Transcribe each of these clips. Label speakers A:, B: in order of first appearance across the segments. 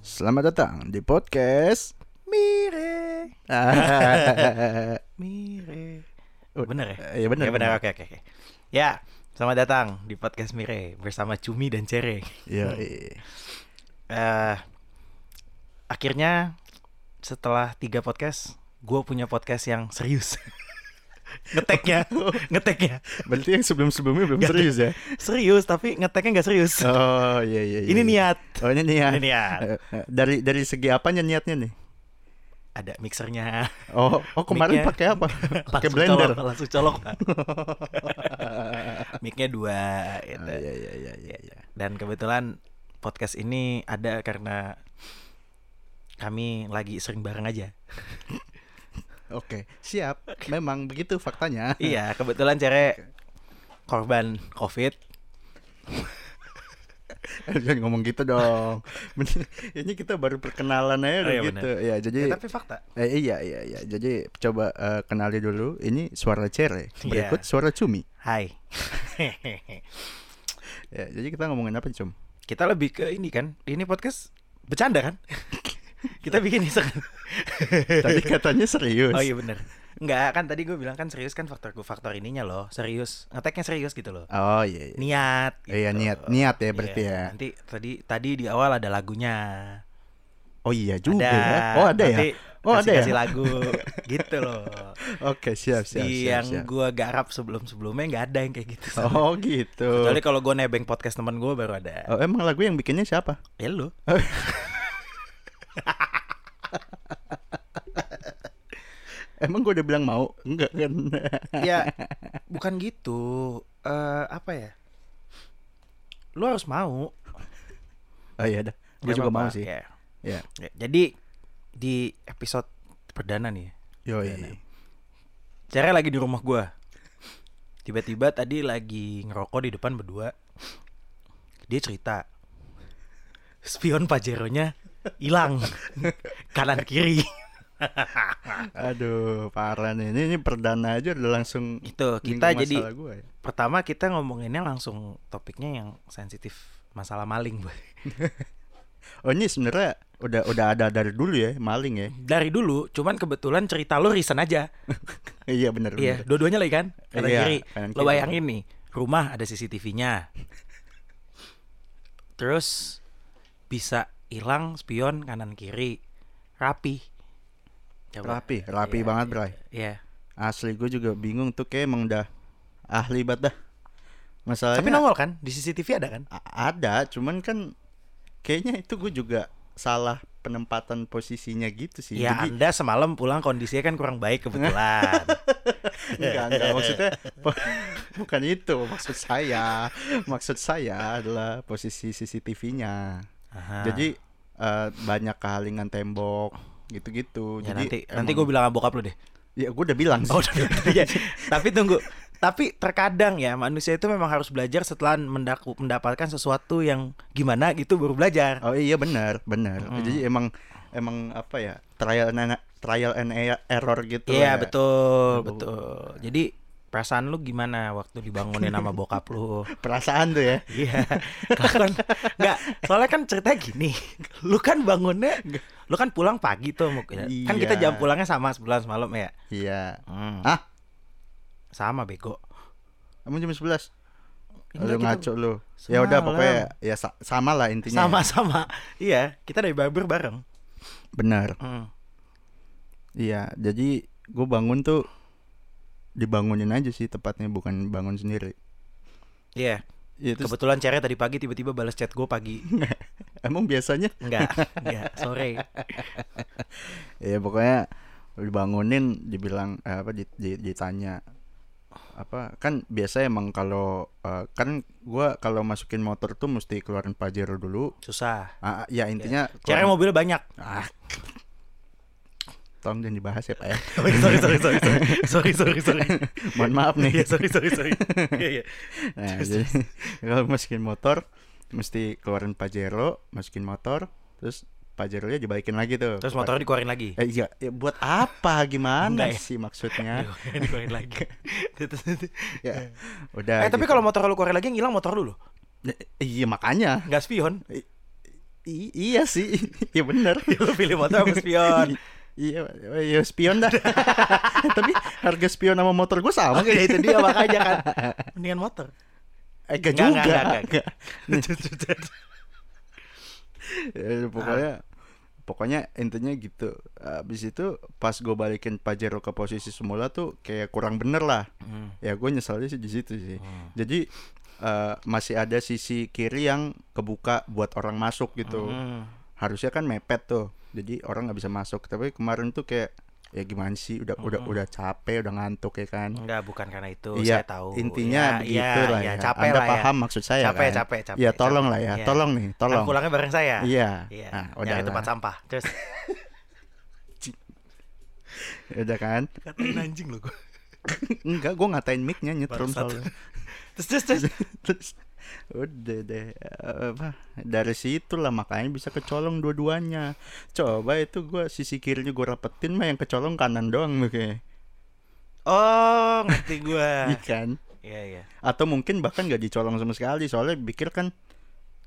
A: Selamat datang di podcast Mire. Mire. Udah.
B: Bener ya?
A: Eh, Iya bener.
B: Ya bener, oke oke oke. Ya, selamat datang di podcast Mire bersama Cumi dan Cere.
A: Iya.
B: Hmm. Eh, akhirnya setelah tiga podcast, gue punya podcast yang serius. ngeteknya, ngeteknya
A: Berarti yang sebelum-sebelumnya belum
B: Gak-
A: serius ya?
B: serius, tapi ngeteknya nggak serius.
A: Oh iya iya. iya.
B: Ini niat.
A: Oh ini niat.
B: Ini niat.
A: Eh, eh, Dari dari segi apanya niatnya nih?
B: Ada mixernya.
A: Oh oh kemarin
B: Mic-nya. Gitu.
A: pakai apa? Pakai
B: Langsung
A: blender.
B: colok, langsung colok. Micnya dua. Gitu.
A: Ah, Iya iya iya iya. iya.
B: Dan kebetulan podcast ini ada karena kami lagi sering bareng aja.
A: Oke siap. Memang begitu faktanya.
B: iya, kebetulan Cere korban COVID.
A: Jangan ngomong gitu dong. Ini kita baru perkenalan aja
B: Oh,
A: udah
B: iya,
A: gitu. Ya jadi
B: Ya, tapi fakta.
A: Eh, iya iya iya. Jadi coba eh, kenali dulu. Ini suara cere.
B: Iya.
A: Berikut suara cumi.
B: Hai.
A: Ya, jadi kita ngomongin apa cum?
B: Kita lebih ke ini kan. Ini podcast bercanda kan? Kita bikin iseng.
A: Tadi katanya serius.
B: Oh iya bener Enggak kan tadi gue bilang kan serius kan faktor gue faktor ininya loh serius ngeteknya serius gitu loh
A: Oh, iya, iya.
B: niat gitu.
A: Iya, niat niat ya berarti
B: Iya,
A: ya.
B: nanti tadi tadi di awal ada lagunya
A: Oh iya juga.
B: ada,
A: ya. Oh ada ya.
B: nanti
A: Oh, ada ya?
B: kasih lagu gitu loh
A: Oke siap siap siap.
B: di yang
A: siap.
B: gue garap sebelum sebelumnya nggak ada yang kayak gitu
A: Oh gitu.
B: kecuali kalau gue nebeng podcast teman gue baru ada
A: Oh, emang lagu yang bikinnya siapa?
B: ya lu
A: Emang gue udah bilang mau? Enggak kan?
B: ya bukan gitu Eh apa ya lu harus mau
A: oh iya dah. Gue
B: Nggak
A: juga mau
B: apa-apa,
A: sih.
B: ya.
A: Ya.
B: Ya, Jadi di episode perdana nih, ya,
A: Yoi.
B: Cere lagi di rumah gua. Tiba-tiba tadi lagi ngerokok di depan berdua. Dia cerita spion Pajero-nya hilang kanan kiri.
A: Aduh, parah nih. Ini, ini perdana aja udah langsung
B: Itu
A: nyinggung
B: Gitu. kita jadi
A: masalah gua ya.
B: pertama kita ngomonginnya langsung topiknya yang sensitif masalah maling, Boy.
A: Oh, ini sebenarnya udah udah ada dari dulu ya, maling ya.
B: Dari dulu, cuman kebetulan cerita lu recent aja.
A: Iya benar
B: Iya, dua-duanya lagi kan? Kanan
A: Iya,
B: kiri.
A: kanan
B: Lo
A: kiri.
B: bayangin nih, rumah ada CCTV-nya. Terus bisa hilang spion kanan kiri. Rapi. Coba.
A: Rapi, rapi
B: Iya,
A: banget, Bray.
B: Iya.
A: Asli gue juga bingung tuh kayak emang udah ahli banget dah. Masalahnya
B: Tapi nongol kan? Di CCTV ada kan?
A: a- ada, cuman kan kayaknya itu gue juga salah penempatan posisinya gitu sih.
B: Ya,
A: Jadi
B: Anda semalam pulang kondisinya kan kurang baik kebetulan.
A: enggak enggak maksudnya po- bukan itu maksud saya. Maksud saya adalah posisi CCTV-nya.
B: Aha.
A: Jadi eh, banyak kehalingan tembok gitu-gitu.
B: Ya,
A: Jadi
B: nanti nanti gue
A: emang-
B: bilang sama bokap lu deh.
A: ya gue udah bilang sih.
B: Oh, udah, udah, iya. tapi tunggu. Tapi terkadang ya manusia itu memang harus belajar setelah mendaku, mendapatkan sesuatu yang gimana gitu baru belajar.
A: Oh iya benar, benar.
B: Mm.
A: Jadi emang emang apa ya? Trial and trial and e- error gitu ya.
B: Iya betul
A: Baru-
B: betul. Jadi perasaan lu gimana waktu dibangunin sama bokap lu?
A: Perasaan tuh ya.
B: Iya. Kan enggak, soalnya kan cerita gini. Lu kan bangunnya lu kan pulang pagi tuh Muk. Kan kita
A: Iya.
B: jam pulangnya sama sebulan semalam ya.
A: Iya.
B: Hmm.
A: Ah.
B: Sama bego.
A: Kamu jam 11.
B: Enggak,
A: Lu
B: kita-
A: ngaco lu. Ya udah
B: Semalam.
A: pokoknya ya sa- sama lah intinya.
B: Sama-sama. Iya, kita dari barber bareng.
A: Benar.
B: Hmm.
A: Iya, jadi gue bangun tuh dibangunin aja sih tepatnya bukan bangun sendiri.
B: Iya,
A: Iya terus
B: kebetulan Cere tadi pagi tiba-tiba balas chat gue pagi.
A: emang biasanya
B: Enggak, enggak, sore.
A: ya pokoknya dibangunin dibilang eh, apa di- di- ditanya apa kan biasa emang kalau eh, kan gua kalau masukin motor tuh mesti keluarin pajero dulu
B: Susah.
A: Ah, ya intinya
B: Cere
A: keluarin-
B: mobilnya banyak.
A: Ah. tolong jangan dibahas ya pak ya
B: sorry, sorry, sorry, sorry, sorry, sorry, sorry, sorry.
A: mohon maaf
B: Iya,
A: nih
B: sorry, sorry, sorry. Iya, iya.
A: nah, jadi kalau masukin motor mesti keluarin pajero masukin motor terus pajero nya dibaikin lagi tuh
B: Terus motornya dikeluarin lagi.
A: eh, iya ya, buat apa gimana
B: Enggak ya?
A: sih maksudnya
B: dikeluarin lagi.
A: ya udah
B: eh, tapi
A: gitu.
B: kalau motor lu keluarin lagi yang hilang motor lu loh.
A: Ya, Iya makanya.
B: Enggak spion.
A: I- iya sih iya bener
B: Lu pilih motor apa spion?
A: iya iya spion dah tapi harga spion sama motor gue sama
B: Oke, ya itu dia makanya kan. Mendingan motor.
A: eh gak
B: Nggak,
A: juga
B: nggak, nggak, nggak.
A: Ya, pokoknya pokoknya intinya gitu abis itu pas gue balikin pajero ke posisi semula tuh kayak kurang bener lah
B: Hmm.
A: ya gue nyesalnya sih di situ sih jadi eh, masih ada sisi kiri yang kebuka buat orang masuk gitu
B: Hmm.
A: harusnya kan mepet tuh jadi orang nggak bisa masuk tapi kemarin tuh kayak ya gimana sih udah udah
B: Hmm.
A: udah capek udah ngantuk ya kan
B: Enggak, bukan karena itu.
A: Iya,
B: gitu, saya tahu.
A: intinya
B: Ya,
A: begitu
B: ya,
A: lah ya.
B: ya, capek
A: Anda
B: lah
A: paham
B: ya.
A: maksud saya
B: Capek,
A: kan?
B: capek, capek,
A: Iya, tolong
B: capek.
A: lah ya,
B: Iya.
A: tolong nih,
B: Kan
A: tolong.
B: pulangnya bareng saya.
A: Iya.
B: Iya.
A: Nah,
B: udah
A: udahlah.
B: tempat sampah. Terus
A: Udah kan?
B: katain anjing lo gua.
A: Enggak, gua ngatain mic-nya nyetrum
B: Bangsat.
A: soalnya.
B: Terus terus terus.
A: Terus udah deh eh, apa dari situlah makanya bisa kecolong dua-duanya. Coba itu gua sisi kirinya gua rapetin mah yang kecolong kanan doang
B: Iya.
A: kayak.
B: Oh, ngerti gua.
A: Ikan.
B: Iya, iya.
A: kan? atau mungkin bahkan nggak dicolong sama sekali soalnya pikir kan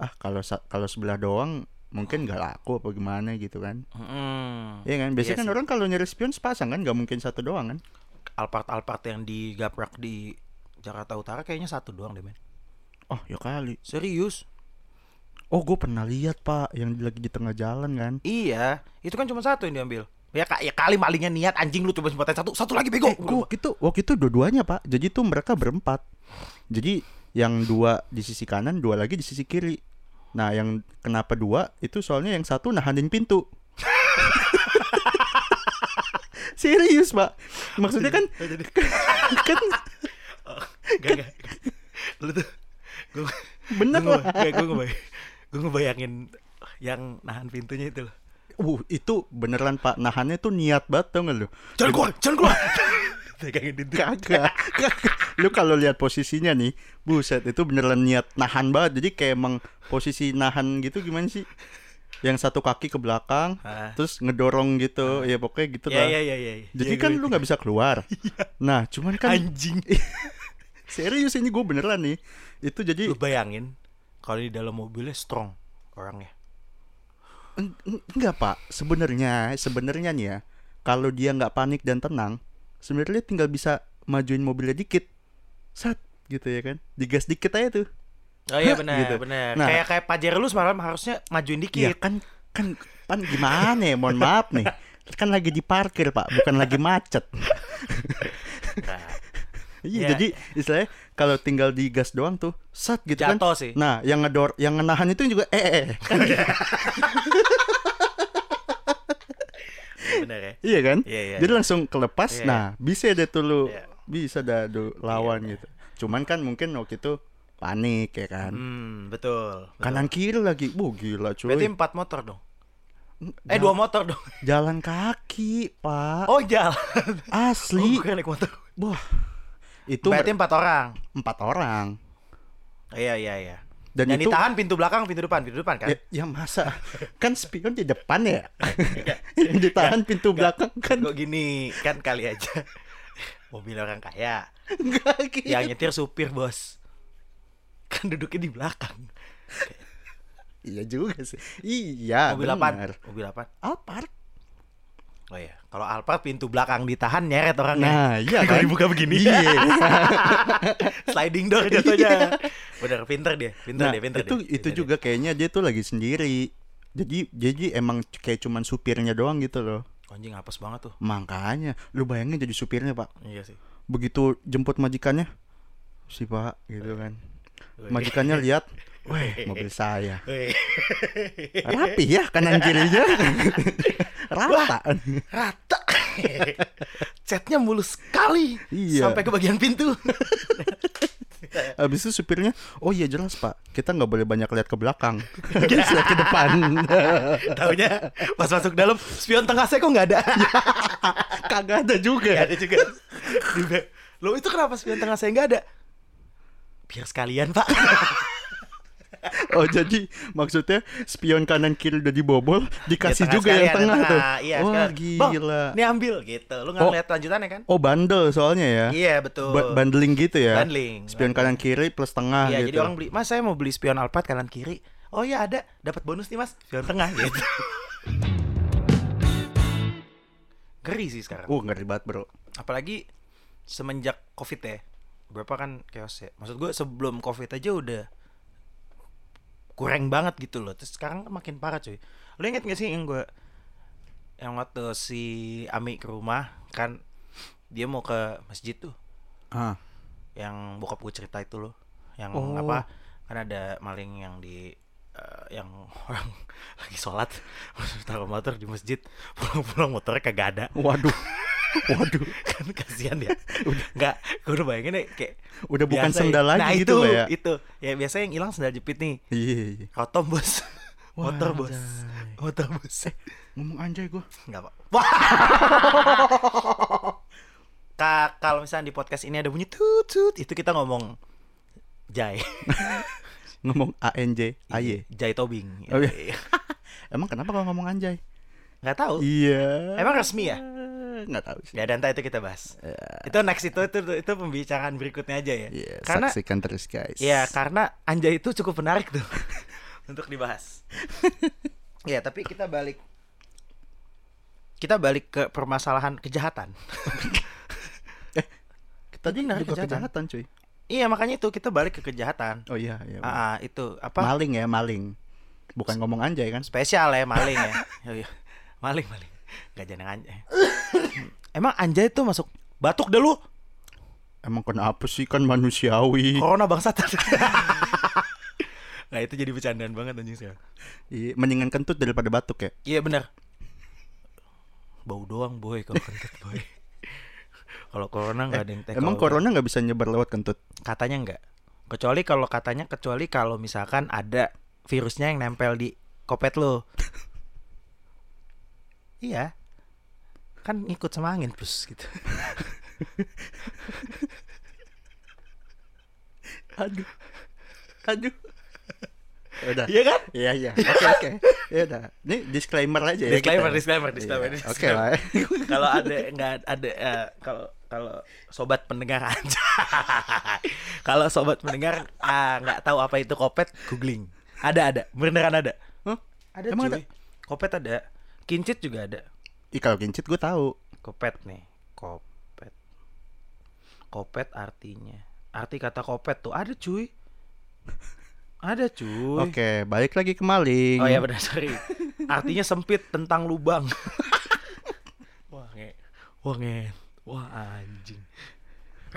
A: ah kalau sa- kalau sebelah doang mungkin nggak laku apa gimana gitu kan
B: Mm-mm.
A: Iya kan biasanya
B: Iya
A: kan
B: sih.
A: orang kalau nyari spion sepasang kan nggak mungkin satu doang kan
B: Alphard-Alphard yang digaprak di Jakarta Utara kayaknya satu doang deh, men.
A: oh ya kali
B: Serius?
A: oh gue pernah lihat pak yang lagi di tengah jalan kan
B: Iya, itu kan cuma satu yang diambil. Ya, ka- ya kali malingnya niat anjing lu coba sempetin satu, satu lagi bego.
A: eh gue gitu waktu itu dua-duanya pak jadi tuh mereka berempat jadi yang dua di sisi kanan dua lagi di sisi kiri nah yang kenapa dua itu soalnya yang satu nahanin pintu serius pak maksudnya kan
B: Eh,
A: kan
B: Gak, gak. Lu tuh gua
A: bener
B: gua,
A: lah
B: ngebay- gua, ngebay- gua ngebayangin yang nahan pintunya itu loh.
A: uh itu beneran pak nahannya tuh niat banget tau gak lu
B: Jangan keluar, jangan keluar. Tegangin pintu.
A: kagak kagak. lu kalau lihat posisinya nih buset itu beneran niat nahan banget jadi kayak emang posisi nahan gitu gimana sih yang satu kaki ke belakang
B: Ah.
A: terus ngedorong gitu ya pokoknya gitu
B: Ya,
A: lah
B: ya, ya, ya. ya.
A: jadi
B: Ya,
A: kan
B: gua-
A: lu nggak bisa keluar nah cuman kan
B: Iya. anjing.
A: serius ini gue beneran nih itu jadi
B: Lu bayangin kalau di dalam mobilnya strong orangnya.
A: Eng- eng- enggak pak sebenarnya sebenarnya nih ya kalau dia nggak panik dan tenang sebenarnya tinggal bisa majuin mobilnya dikit sat gitu ya kan digas dikit aja tuh
B: Oh iya
A: Hah,
B: benar,
A: gitu.
B: benar.
A: Nah.
B: kayak kayak Pajero lu semalam harusnya majuin
A: Iya
B: dikit.
A: kan kan kan gimana ya mohon maaf nih kan lagi di parkir pak bukan lagi macet
B: Nah,
A: iya
B: Iya.
A: jadi istilahnya kalau tinggal di gas doang tuh sat gitu kan
B: Jatuh sih.
A: nah yang ngedor yang ngenahan itu juga eh, eh, eh. Kan-
B: benar ya.
A: iya kan
B: Iya, iya,
A: jadi
B: iya.
A: langsung kelepas
B: Iya,
A: nah bisa deh tuh lu
B: Iya.
A: bisa dah lu lawan gitu cuman kan mungkin waktu itu panik ya kan
B: Hmm, betul. betul.
A: kanan kiri lagi bu gila cuy
B: Berarti empat motor dong. Eh dua motor dong.
A: jalan kaki pak
B: Oh jalan. Oh,
A: asli
B: bukan naik motor.
A: Wah. itu ber-
B: Berarti empat orang.
A: empat orang
B: Iya iya iya. Dan,
A: Dan itu-
B: ditahan pintu belakang, pintu depan, pintu depan kan?
A: Ya, ya masa kan spion di depan ya
B: Iya.
A: yang ditahan pintu belakang kan
B: Kok gini kan kali aja mobil orang kaya.
A: enggak gitu
B: Yang nyetir supir bos. Kan duduknya di belakang.
A: iya juga sih iya
B: Mobil
A: benar
B: apa? Mobil apa?
A: Alphard
B: Oh iya. Kalau Alphard pintu belakang ditahan nyeret orangnya.
A: nah iya
B: Kalau
A: kan
B: dibuka begini.
A: iya
B: Sliding door jatuhnya. Bener, pinter dia, pinter
A: nah
B: dia, pinter
A: itu
B: dia, Iya,
A: itu
B: pinter
A: juga kayaknya dia tuh lagi sendiri jadi jadi emang c- kayak cuman supirnya doang gitu loh
B: dia. Anjing hapus banget tuh.
A: makanya lu bayangin jadi supirnya pak
B: Iya sih.
A: begitu jemput majikannya si pak gitu kan majikannya lihat weh mobil saya
B: Wih.
A: rapi ya kanan kirinya rata
B: rata catnya mulus sekali
A: Iya.
B: sampai ke bagian pintu
A: abis itu supirnya oh iya jelas pak kita nggak boleh banyak lihat ke belakang Harus lihat ke depan
B: taunya pas masuk dalam spion tengah saya kok nggak ada
A: Iya. kagak ada
B: nggak
A: juga
B: ada juga Dibe- lo itu kenapa spion tengah saya nggak ada biar sekalian pak
A: oh jadi maksudnya spion kanan kiri udah dibobol dikasih
B: Biar
A: juga yang
B: sekalian,
A: tengah, tuh
B: iya,
A: wah
B: sekalian. Bang,
A: gila
B: ini ambil gitu lo nggak
A: Oh.
B: ngeliat lanjutannya kan
A: oh bandel soalnya ya
B: iya betul
A: Ba- bundling gitu ya
B: Bundling,
A: spion kanan kiri plus tengah
B: Iya,
A: gitu
B: jadi orang beli mas saya mau beli spion alpat kanan kiri oh ya ada dapat bonus nih mas jalan tengah gitu ngeri sih sekarang
A: Uh ngeri banget bro.
B: apalagi semenjak covid ya berapa kan chaos ya maksud gue sebelum covid aja udah kurang banget gitu loh terus sekarang makin parah cuy lo inget gak sih yang gue yang waktu si Ami ke rumah kan dia mau ke masjid tuh
A: Ah
B: yang bokap gue cerita itu loh yang
A: Oh.
B: apa kan ada maling yang di eh, yang orang lagi sholat taruh motor di masjid pulang-pulang motornya kagak ada
A: waduh. Waduh,
B: kan kasihan ya udah nggak gue udah bayangin deh kayak
A: udah bukan
B: biasa
A: sendal
B: ya.
A: lagi
B: nah,
A: gitu
B: itu,
A: loh ya.
B: itu ya biasanya yang hilang sendal jepit nih
A: Iya, iya, iya.
B: rotom bos
A: Wah,
B: motor bos
A: anjay.
B: motor bos Eh,
A: Ngomong anjay gua.
B: nggak apa wah Ka- kalau misalnya di podcast ini ada bunyi tut tut itu kita ngomong jai
A: Ngomong ANJ, AY.
B: jai tobing
A: Oh, iya. Emang kenapa kalau ngomong anjay?
B: nggak tahu
A: Iya.
B: Oh. emang resmi ya
A: Nggak tahu sih.
B: ya dan entah itu kita bahas itu next itu itu itu pembicaraan berikutnya aja
A: Eh,
B: ya
A: Iya,
B: karena
A: saksikan terus guys.
B: Ya karena anjay itu cukup menarik tuh untuk dibahas. ya tapi kita balik kita balik ke permasalahan kejahatan.
A: Tadi
B: Benar,
A: juga
B: kejahatan.
A: kejahatan cuy.
B: iya makanya itu kita balik ke kejahatan.
A: Oh iya, iya. benar.
B: Ah, ah, itu apa?
A: Maling ya, maling. Bukan ngomong anjay kan?
B: Spesial ya maling ya. Oh, iya. maling maling. Gak jangan anjay. Emang anjay itu masuk batuk dah lu.
A: Emang kenapa sih kan manusiawi?
B: Corona bangsat. nah itu jadi bercandaan banget anjing sekarang.
A: Iya, mendingan kentut daripada batuk ya.
B: Iya benar. Bau doang boy kalau kentut boy. kalau corona nggak ada yang take
A: Emang
B: over.
A: corona nggak bisa nyebar lewat kentut?
B: katanya nggak. Kecuali kalau katanya kecuali kalau misalkan ada virusnya yang nempel di kopet lo. iya. Kan ikut sama angin plus gitu.
A: Aduh. Aduh. Udah.
B: Iya kan?
A: Iya iya. Oke oke. Ya udah. Ini disclaimer aja ya.
B: Disclaimer,
A: kita ya.
B: disclaimer, disclaimer,
A: Iya, Oke
B: disclaimer.
A: lah. ya.
B: kalau ada nggak ada eh, kalau kalau sobat pendengar aja kalau sobat pendengar ah, nggak tahu apa itu kopet googling ada ada beneran ada
A: Hah?
B: ada
A: Emang
B: cuy. kopet ada kincit juga ada
A: Ih kalau kincit gue tahu.
B: kopet nih kopet kopet artinya arti kata kopet tuh ada cuy ada cuy
A: Oke, balik lagi ke maling.
B: Oh ya benar sorry. Artinya sempit tentang lubang. wah nge, wah nge, wah anjing.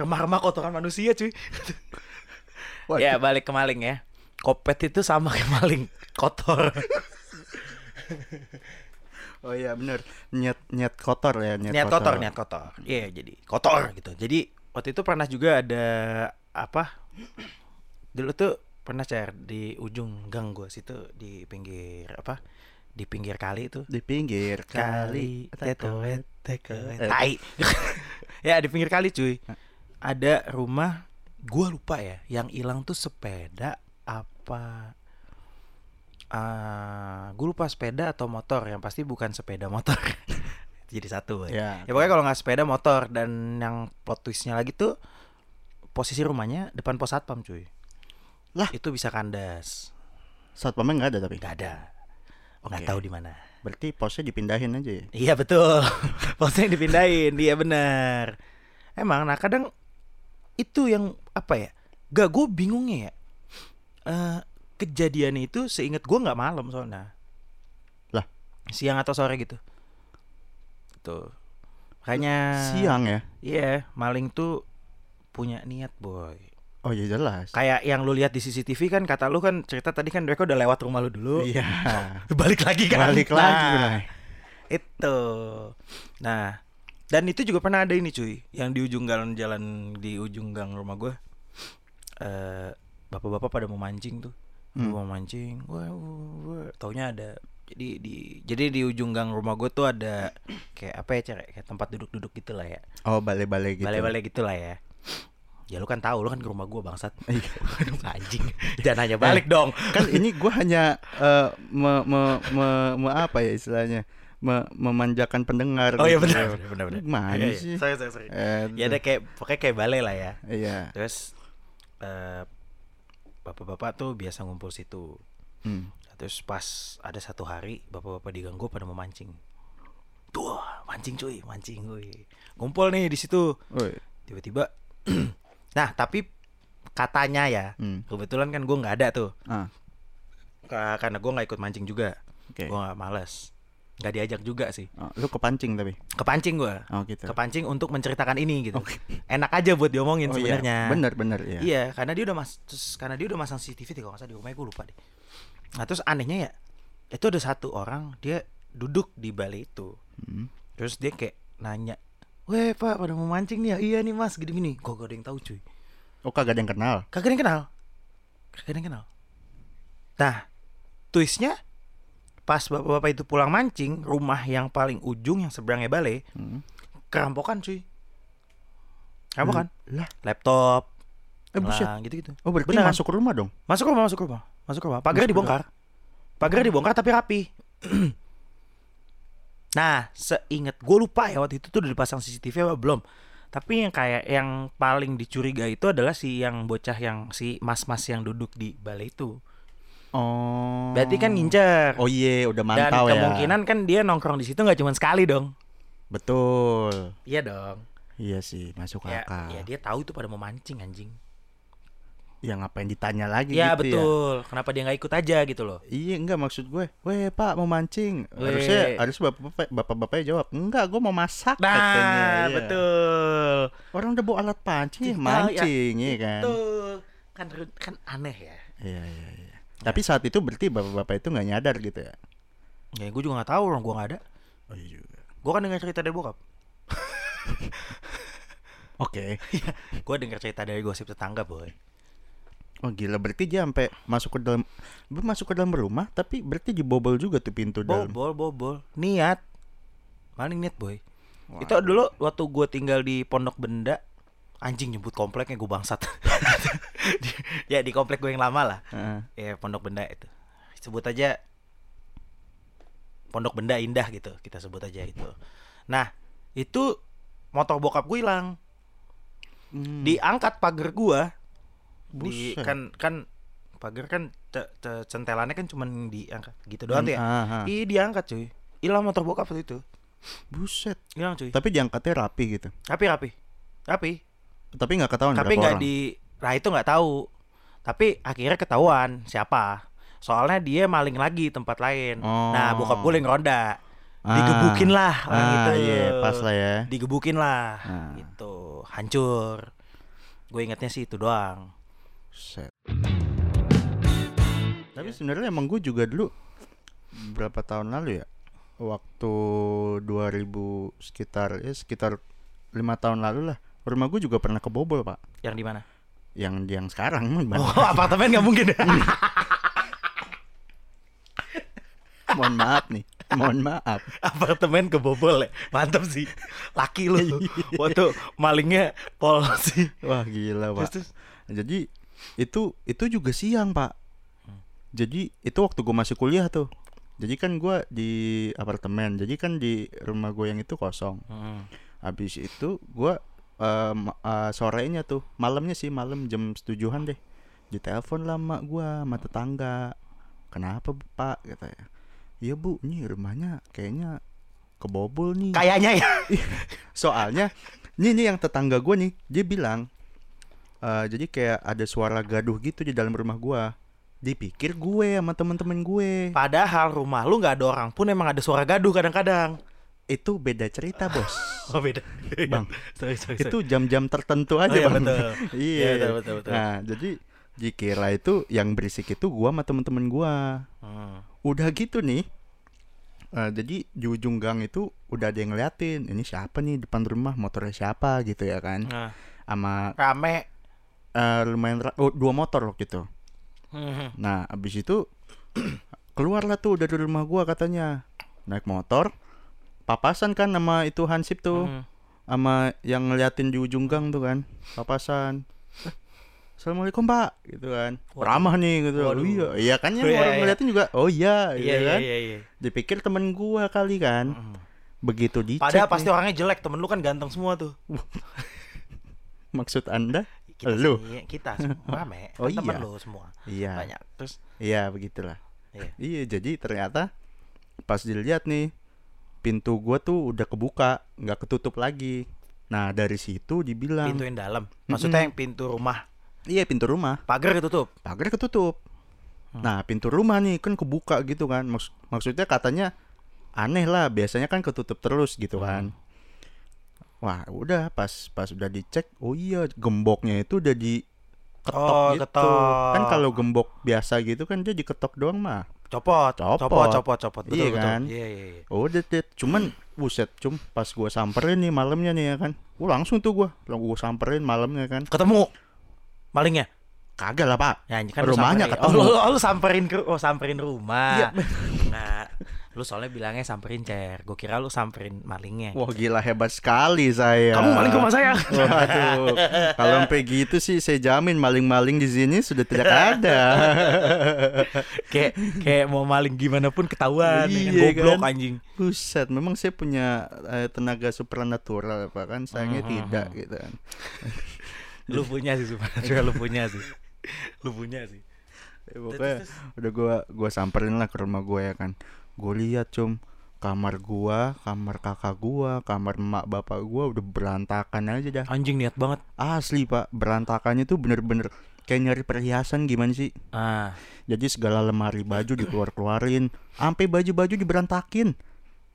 B: Remah-remah kotoran manusia cuy.
A: Waduh.
B: Ya balik ke maling ya. Kopet itu sama kayak maling kotor.
A: Oh iya bener Niat niat kotor ya, niat,
B: niat kotor, niat kotor. Iya jadi kotor gitu. Jadi waktu itu pernah juga ada apa? Dulu tuh pernah cer di ujung gang gua situ di pinggir apa? Di pinggir kali itu
A: Di pinggir kali.
B: tetoet tekoet
A: Eh.
B: tai ya di pinggir kali cuy ada rumah gua lupa ya yang hilang tuh sepeda apa Ah, gua lupa sepeda atau motor yang pasti bukan sepeda motor jadi satu ya,
A: Ya.
B: ya pokoknya kalau nggak sepeda motor dan yang plot twistnya lagi tuh posisi rumahnya depan pos satpam cuy
A: Lah.
B: itu bisa kandas
A: Saat pemain nggak ada tapi.
B: nggak ada nggak
A: Oke.
B: tahu di mana
A: Berarti posnya dipindahin aja ya.
B: Iya betul. Posnya yang dipindahin, dia benar. Emang nah kadang itu yang apa ya? Gak gue bingungnya ya. Eh kejadian itu seingat gue nggak malam soalnya.
A: Lah?
B: Siang atau sore gitu. Tuh. Makanya
A: Siang ya.
B: Iya, maling tuh punya niat, boy.
A: Oh iya jelas.
B: Kayak yang lu lihat di CCTV kan kata lu kan cerita tadi kan mereka udah lewat rumah lu dulu.
A: Iya.
B: Balik lagi kan.
A: Balik lagi
B: Nah,
A: lah.
B: itu nah dan itu juga pernah ada ini cuy yang di ujung jalan jalan di ujung gang rumah gue eh bapak-bapak pada mau mancing tuh
A: Hmm.
B: mau mancing wah, wah, wah. taunya ada jadi di jadi di ujung gang rumah gue tuh ada kayak apa ya cerek kayak tempat duduk-duduk gitu lah ya
A: Oh balik-balik gitu.
B: balai-balai gitu lah ya ya lu kan tahu lu kan ke rumah gue bangsat
A: Iya.
B: Aduh, anjing jangan hanya balik dong
A: kan ini gua hanya eh, me, me, me, me apa ya istilahnya me- memanjakan pendengar
B: oh iya
A: gitu.
B: benar benar benar
A: Gimana
B: Iya, iya.
A: sih?
B: sorry sorry sorry
A: Eh,
B: ya ada kayak pokoknya kayak balai lah ya
A: iya
B: Terus eh, bapak-bapak tuh biasa ngumpul situ.
A: Hmm.
B: Terus pas ada satu hari bapak-bapak diganggu pada mau mancing. Tuh, mancing cuy, mancing cuy. Ngumpul nih di situ.
A: Woi.
B: Tiba-tiba Nah, tapi katanya ya,
A: Hmm.
B: kebetulan kan gue nggak ada tuh.
A: Ah,
B: Ka- Karena gue nggak ikut mancing juga.
A: oke.
B: Gue nggak males. Nggak diajak juga sih.
A: Oh, lu kepancing tapi.
B: Kepancing gue.
A: Oh, gitu.
B: Kepancing untuk menceritakan ini gitu. Enak aja buat diomongin
A: Oh, iya.
B: sebenarnya.
A: Bener, bener ya.
B: Iya, karena dia udah mas, terus karena dia udah masang CCTV deh, kalau nggak salah di rumahnya gue lupa deh. Nah terus anehnya ya, itu ada satu orang dia duduk di balik itu,
A: Hmm.
B: terus dia kayak nanya, weh pak pada mau mancing nih ya? Iya nih mas, gini gini. Kok gak ada yang tahu cuy?
A: Oh, kagak ada yang kenal.
B: Kagak ada yang kenal, kagak ada yang kenal. Nah, twistnya pas bapak-bapak itu pulang mancing, rumah yang paling ujung yang seberangnya balai
A: Hmm.
B: kerampokan cuy. Kerampokan,
A: Lah,
B: laptop,
A: Eh, buset.
B: hilang, gitu-gitu.
A: oh berarti
B: Beneran.
A: masuk ke rumah dong.
B: Masuk rumah, masuk rumah, masuk rumah. Pagar
A: Masuk
B: dibongkar. Pagar dibongkar tapi rapi. nah, seingat gue lupa ya waktu itu tuh udah dipasang CCTV apa belum. Tapi yang kayak yang paling dicurigai itu adalah si yang bocah yang si mas-mas yang duduk di balai itu.
A: Oh.
B: Berarti kan ngincer.
A: Oh iya, udah
B: Dan
A: mantau ya.
B: kemungkinan kan dia nongkrong di situ nggak cuma sekali dong.
A: Betul.
B: Iya dong.
A: Iya sih, masuk
B: Ya,
A: akal. Ya,
B: ya dia tahu itu pada mau mancing anjing.
A: ngapain ditanya lagi gitu
B: Iya
A: ya.
B: betul. Kenapa dia nggak ikut aja gitu loh?
A: Iya enggak maksud gue Weh pak mau mancing
B: Weh.
A: Harusnya harus bapak-bapak, bapak-bapaknya jawab Enggak gue mau masak katanya
B: Nah,
A: Iya.
B: betul.
A: Orang udah bawa alat pancing ya
B: Kita-
A: mancing
B: ya,
A: Iya kan
B: Betul. Kan ru- kan aneh ya.
A: Iya iya iya Tapi saat itu berarti bapak-bapak itu nggak nyadar gitu ya
B: Ya gue juga nggak tahu orang gue nggak ada.
A: Oh iya juga
B: Gue kan dengar cerita dari bokap.
A: Oke
B: gue dengar cerita dari gosip tetangga boy.
A: Oh gila berarti dia sampai masuk ke dalam dia masuk ke dalam rumah tapi berarti dibobol juga tuh pintu dalam
B: Bobol bobol niat. Maling niat boy.
A: Wah.
B: Itu dulu waktu gue tinggal di Pondok Benda anjing nyebut kompleknya gue bangsat. ya di komplek gue yang lama lah.
A: Heeh.
B: Ya Pondok Benda itu. Sebut aja Pondok Benda Indah gitu kita sebut aja itu. Nah itu motor bokap gue hilang.
A: Hmm,
B: diangkat pagar gua di
A: buset.
B: kan kan pagar kan te- te- centelannya kan cuman diangkat gitu doang tuh ya
A: Ah, ah.
B: Ih diangkat cuy hilang motor bokap waktu itu
A: Buset
B: hilang cuy
A: Tapi diangkatnya rapi gitu
B: tapi rapi rapi
A: Tapi nggak ketahuan berapa
B: tapi nggak
A: orang
B: di nah itu nggak tahu tapi akhirnya ketahuan siapa soalnya dia maling lagi tempat lain
A: Oh.
B: nah bokap gue yang ronda
A: Ah.
B: digebukin lah gitu. orang
A: Ah,
B: itu
A: iya, pas lah ya.
B: digebukin lah
A: Ah.
B: gitu hancur gue ingatnya sih itu doang
A: Set. Tapi
B: Iya.
A: sebenarnya emang gue juga dulu berapa tahun lalu ya, waktu 2000 sekitar ya sekitar lima tahun lalu lah, rumah gue juga pernah kebobol pak.
B: yang di mana
A: Yang yang sekarang mah Bang.
B: Oh, apartemen nggak mungkin.
A: Iya. mohon maaf nih, mohon maaf.
B: apartemen kebobol ya. Mantap sih. Laki lu.
A: Iya.
B: Waktu malingnya polisi.
A: Wah gila pak.
B: Terus, terus.
A: Jadi itu itu juga siang pak. Jadi itu waktu gue masih kuliah tuh. Jadi kan gue di apartemen. Jadi kan di rumah gue yang itu kosong. Habis itu gua eh, ma- eh, sorenya tuh, malamnya sih malam jam setujuhan deh. Ditelepon lah mak gua, sama tetangga. Kenapa, Bu, Pak? kata ya. Iya, Bu, ini rumahnya kayaknya kebobol nih.
B: Kayaknya ya.
A: Soalnya ini nih yang tetangga gua nih, dia bilang eh, jadi kayak ada suara gaduh gitu di dalam rumah gua. Dipikir gue sama temen-temen gue
B: Padahal rumah lu nggak ada orang pun emang ada suara gaduh kadang-kadang.
A: Itu beda cerita bos
B: Oh beda.
A: Bang,
B: sorry, sorry, sorry.
A: itu jam-jam tertentu aja
B: Oh, iya,
A: bang.
B: betul.
A: iya.
B: Iya, betul, betul, betul.
A: Nah jadi dikira itu yang berisik itu gua sama temen-temen gua.
B: Hmm.
A: Udah gitu nih. eh, jadi di ujung gang itu udah ada yang ngeliatin ini siapa nih depan rumah motornya siapa gitu ya kan
B: Nah,
A: sama
B: rame.
A: eh, lumayan ra- oh, dua motor waktu itu
B: Hmm.
A: nah abis itu keluarlah tuh dari rumah gua katanya naik motor papasan kan sama itu Hansip tuh
B: Hmm.
A: sama yang ngeliatin di ujung gang tuh kan papasan Eh, Assalamualaikum pak gitu kan
B: Waduh.
A: ramah nih gitu
B: Waduh.
A: oh, iya iya kan yang
B: Iya,
A: orang
B: iya.
A: ngeliatin juga oh iya gitu
B: Iya iya
A: kan
B: iya. iya.
A: dipikir temen gua kali kan
B: Hmm.
A: begitu dicek
B: Padahal pasti
A: nih.
B: orangnya jelek, temen lu kan ganteng semua tuh.
A: maksud anda
B: Kita
A: Lu?
B: sih, kita semua rame.
A: Oh,
B: Kan temen
A: iya.
B: lu semua.
A: iya
B: Banyak. Terus
A: iya begitulah
B: Iya.
A: Iya, jadi ternyata pas dilihat nih pintu gua tuh udah kebuka, nggak ketutup lagi. Nah, dari situ dibilang
B: Pintu yang dalam. Maksudnya yang pintu rumah.
A: iya pintu rumah,
B: Pagar ketutup.
A: pagar ketutup.
B: Hmm.
A: Nah, pintu rumah nih kan kebuka gitu kan. Maks- maksudnya katanya aneh lah, biasanya kan ketutup terus gitu kan.
B: Hmm.
A: Wah, udah pas pas udah dicek, oh iya gemboknya itu udah di ketok
B: Oh,
A: gitu.
B: ketok.
A: Kan kalau gembok biasa gitu kan dia diketok doang mah.
B: Copot.
A: Copot.
B: Copot. Copot. copot. Betul,
A: Iya
B: betul.
A: kan?
B: Iya, iya, iya.
A: Oh, det, det. cuman buset, cum pas gua samperin nih malamnya nih ya kan. Gua langsung tuh gua, langsung gua samperin malamnya kan.
B: Ketemu malingnya.
A: Kagak lah, Pak.
B: Ya, anjing, kan
A: Rumahnya
B: lu samperin.
A: ketemu.
B: Oh, lu, oh, lu samperin ke oh samperin rumah. Iya. Nah, lu soalnya bilangnya samperin cer. Gue kira lu samperin malingnya.
A: Wah, gila hebat sekali saya.
B: Kamu maling ke rumah saya.
A: Waduh, kalau sampai gitu sih saya jamin maling-maling di sini sudah tidak ada.
B: kayak kayak mau maling gimana pun ketahuan ya kan?
A: Iya,
B: goblok
A: kan?
B: anjing.
A: Buset, memang saya punya eh, tenaga supranatural apa kan sayangnya
B: Hmm.
A: tidak gitu kan.
B: Lu punya sih sebenarnya lu punya sih. Lu punya sih.
A: Ya, pokoknya udah gua gua samperin lah ke rumah gua ya kan. Gua lihat cum kamar gua, kamar kakak gua, kamar emak bapak gua udah berantakan aja dah.
B: Anjing niat banget.
A: Asli, Pak, berantakannya tuh bener-bener kayak nyari perhiasan gimana sih?
B: Ah.
A: Jadi segala lemari baju dikeluar-keluarin, sampai baju-baju diberantakin.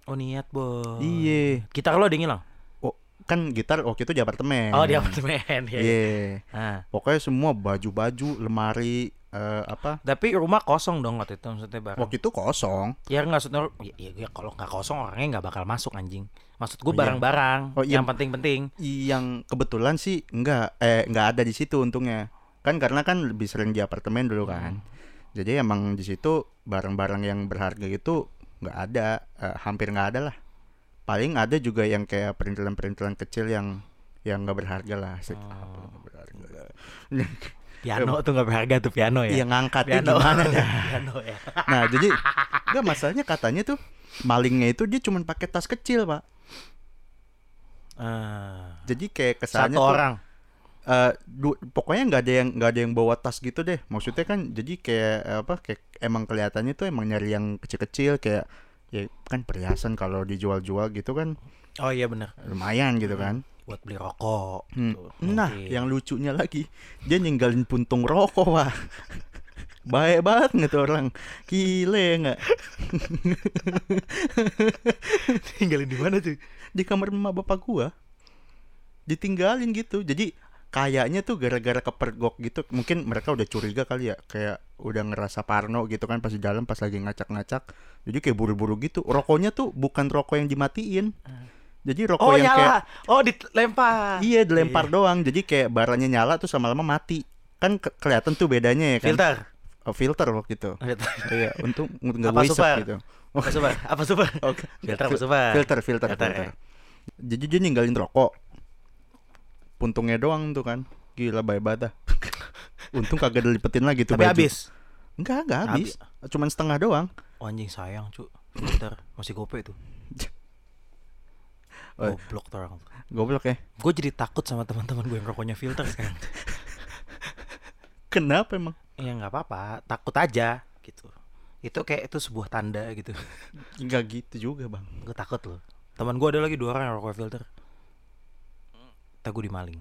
B: Oh niat, Bo.
A: Iye.
B: Iya. Gitar lo ada yang hilang?
A: Oh, kan gitar waktu itu di apartemen.
B: Oh, di apartemen ya.
A: Iya.
B: Ah.
A: Pokoknya semua baju-baju, lemari eh, apa?
B: Tapi rumah kosong dong waktu itu maksudnya barang.
A: Waktu itu kosong.
B: Ya nggak maksudnya ya, ya, ya, kalau nggak kosong orangnya nggak bakal masuk anjing. Maksud gue barang-barang
A: Oh, iya.
B: yang penting-penting.
A: Yang kebetulan sih enggak eh enggak ada di situ untungnya. Kan karena kan lebih sering di apartemen dulu
B: Hmm.
A: kan. Jadi emang di situ barang-barang yang berharga itu enggak ada, eh, hampir enggak ada lah. Paling ada juga yang kayak perintilan-perintilan kecil yang yang enggak berharga lah. Sek-
B: Oh.
A: apa nggak berharga.
B: Piano tuh nggak berharga tuh piano ya.
A: Yang ngangkatnya
B: piano.
A: gimana dah?
B: piano ya.
A: Nah jadi Enggak masalahnya katanya tuh Malingnya itu dia cuma pakai tas kecil pak
B: Ah.
A: Jadi kayak kesannya
B: Satu
A: tuh,
B: orang.
A: eh, du- Pokoknya nggak ada yang nggak ada yang bawa tas gitu deh Maksudnya kan jadi kayak eh, apa kayak Emang kelihatannya tuh emang nyari yang kecil-kecil Kayak ya kan perhiasan kalau dijual-jual gitu kan
B: Oh iya bener
A: lumayan gitu kan
B: buat beli rokok. gitu.
A: Hmm.
B: tuh,
A: Nah
B: mungkin.
A: yang lucunya lagi Dia ninggalin puntung rokok pak Baik banget nggak tuh orang Gile ya nggak
B: tinggalin di mana tuh?
A: di kamar emak bapak gua ditinggalin gitu jadi kayaknya tuh gara-gara kepergok gitu mungkin mereka udah curiga kali ya kayak udah ngerasa parno gitu kan pas di dalam pas lagi ngacak-ngacak jadi kayak buru-buru gitu rokoknya tuh bukan rokok yang dimatiin jadi rokok
B: Oh,
A: yang kayak
B: nyala. Oh dilempar.
A: iya dilempar doang jadi kayak baranya nyala tuh sama lama mati kan ke- kelihatan tuh bedanya ya kan
B: Filter.
A: Oh, filter waktu itu
B: Filter.
A: iya untung nggak
B: Apa
A: wisep
B: super?
A: gitu
B: Apa super? Apa super?
A: Oke.
B: Filter apa
A: Fil-
B: super?
A: Filter, filter,
B: Filter, eh.
A: filter. Jadi dia ninggalin rokok. Puntungnya doang tuh kan. Gila bayi bata. Untung kagak dilipetin lagi tuh
B: Tapi
A: baju.
B: habis.
A: Enggak, enggak habis. Cuman setengah doang.
B: Oh, anjing sayang, cu. Filter masih gope tuh.
A: Oh.
B: Goblok tuh orang.
A: Goblok ya.
B: Gue jadi takut sama teman-teman gue yang rokoknya filter sekarang.
A: Kenapa emang?
B: ya nggak apa-apa, takut aja gitu. Itu kayak itu sebuah tanda gitu.
A: Enggak gitu juga, Bang.
B: Gue takut loh. Teman gue ada lagi dua orang yang rokok filter. Tapi gue dimaling.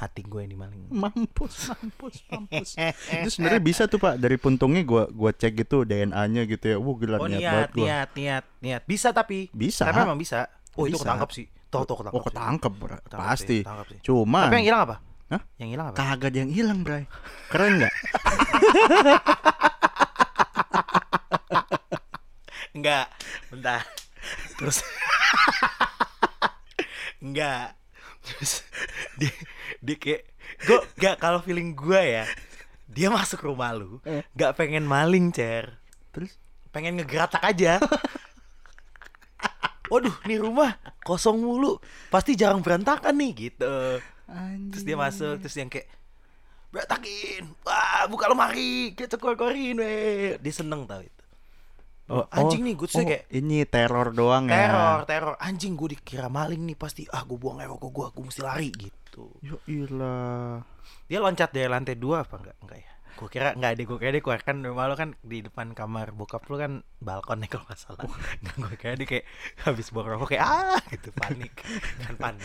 B: Hati gue yang dimaling.
A: Mampus, mampus, mampus. Itu sebenarnya bisa tuh, Pak. Dari puntungnya gua gua cek gitu DNA-nya gitu ya. Wah, gila
B: Oh
A: niat,
B: niat,
A: banget gua.
B: niat, niat, niat. Bisa tapi.
A: Bisa.
B: Tapi emang bisa. Oh itu
A: Bisa.
B: ketangkap sih. Tahu tahu ketangkap.
A: Oh, ketangkep, Bro.
B: Ketangkep sih,
A: Pasti.
B: ketangkep sih.
A: Cuman
B: Tapi yang hilang apa?
A: Hah?
B: Yang hilang apa?
A: Kagak ada yang hilang, Bray. Keren nggak?
B: Enggak. Bentar. Terus Enggak. Terus dia, dia kayak gua enggak kalau feeling gua ya. Dia masuk rumah lu, enggak pengen maling, Cer.
A: Terus
B: pengen ngegeratak aja. Waduh, nih rumah kosong mulu, pasti jarang berantakan nih gitu. Terus dia masuk, terus yang kayak berantakin, wah buka lemari, kita kor-korin, weh. Dia seneng tau itu.
A: Oh,
B: Anjing nih, gue tuh
A: oh,
B: kayak-
A: ini teror doang ya.
B: Teror, teror, anjing gue dikira maling nih pasti, ah gue buang air rokok gue, gue mesti lari gitu.
A: Ya ilah.
B: Dia loncat dari lantai dua apa enggak? Enggak ya? Gue kira nggak deh, gue kira dia keluar kan rumah lo kan di depan kamar bokap lo kan balkon ya kalau nggak salah. Nggak gue kira dia kayak habis buang rokok kayak ah gitu panik, kan panik,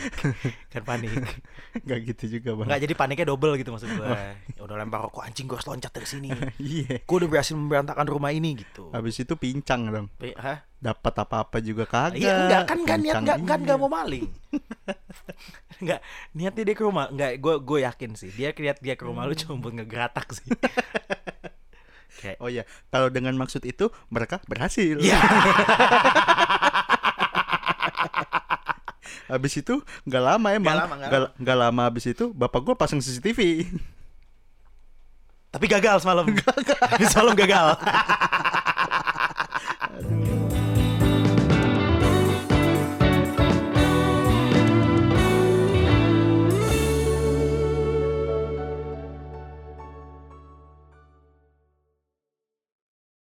B: kan panik.
A: nggak gitu juga bang
B: Nggak jadi paniknya double gitu maksud gue. Ya udah lempar rokok anjing gue harus loncat dari sini.
A: iya
B: Gue udah berhasil memberantakan rumah ini gitu.
A: habis itu pincang dong
B: Pe- Hah?
A: dapat apa-apa juga kagak
B: Iya enggak kan kan
A: Pincang,
B: niat enggak kan
A: iya.
B: enggak mau maling. enggak niatnya dia ke rumah enggak gue gue yakin sih dia lihat dia ke rumah lu cuma buat ngegeratak sih. Kayak
A: oh iya kalau dengan maksud itu mereka berhasil
B: ya
A: habis itu nggak lama emang
B: lama, nggak
A: nggak nggak lama habis itu bapak gua pasang CCTV
B: tapi gagal semalam. semalam gagal.